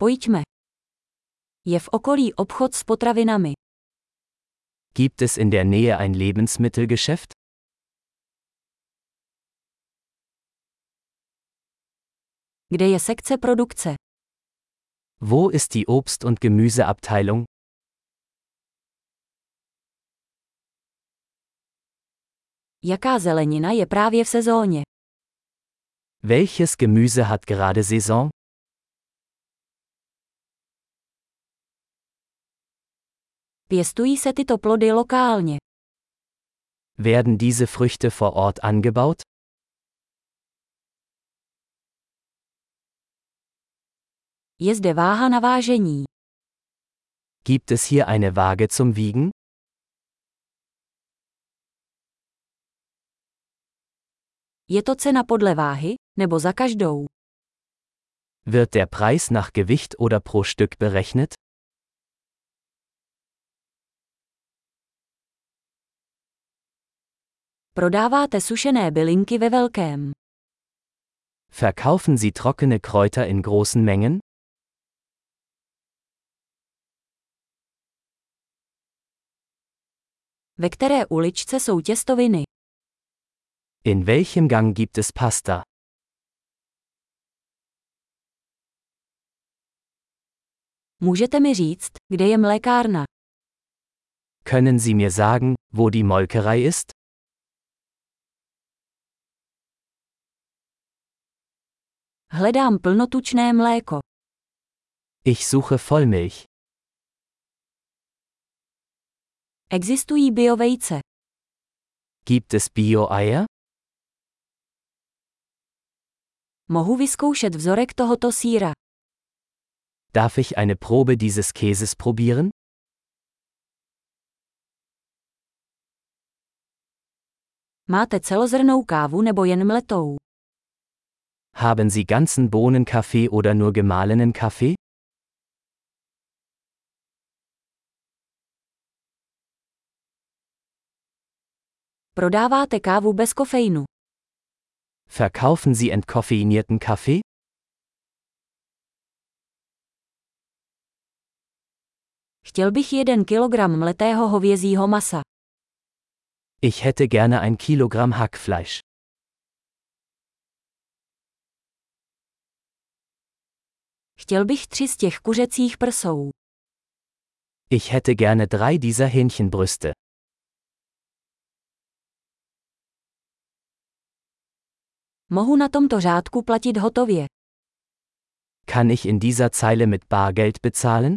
Pojďme. Je v okolí obchod s potravinami. Gibt es in der Nähe ein Lebensmittelgeschäft? Kde je sekce produkce? Wo ist die Obst- und Gemüseabteilung? Jaká zelenina je právě v sezóně? Welches Gemüse hat gerade Saison? Pěstují se tyto plody lokálně. Werden diese Früchte vor Ort angebaut? Je zde váha na vážení. Gibt es hier eine Waage zum Wiegen? Je to cena podle váhy, nebo za každou. Wird der Preis nach Gewicht oder pro Stück berechnet? Prodáváte sušené bylinky ve velkém. Verkaufen Sie trockene Kräuter in großen Mengen? Ve které uličce jsou těstoviny? In welchem Gang gibt es Pasta? Můžete mi říct, kde je mlékárna? Können Sie mir sagen, wo die Molkerei ist? Hledám plnotučné mléko. Ich suche Vollmilch. Existují biovejce. Gibt es Bio-Eier? Mohu vyzkoušet vzorek tohoto síra. Darf ich eine Probe dieses Käses probieren? Máte celozrnou kávu nebo jen mletou? Haben Sie ganzen Bohnenkaffee oder nur gemahlenen Kaffee? Prodáváte kávu bez kofeinu. Verkaufen Sie entkoffeinierten Kaffee? Chtěl bych jeden kilogram mletého hovězího masa. Ich hätte gerne ein Kilogramm Hackfleisch. Chtěl bych tři z těch kuřecích prsou. Ich hätte gerne drei dieser Hähnchenbrüste. Mohu na tomto řádku platit hotově. Kann ich in dieser Zeile mit Bargeld bezahlen?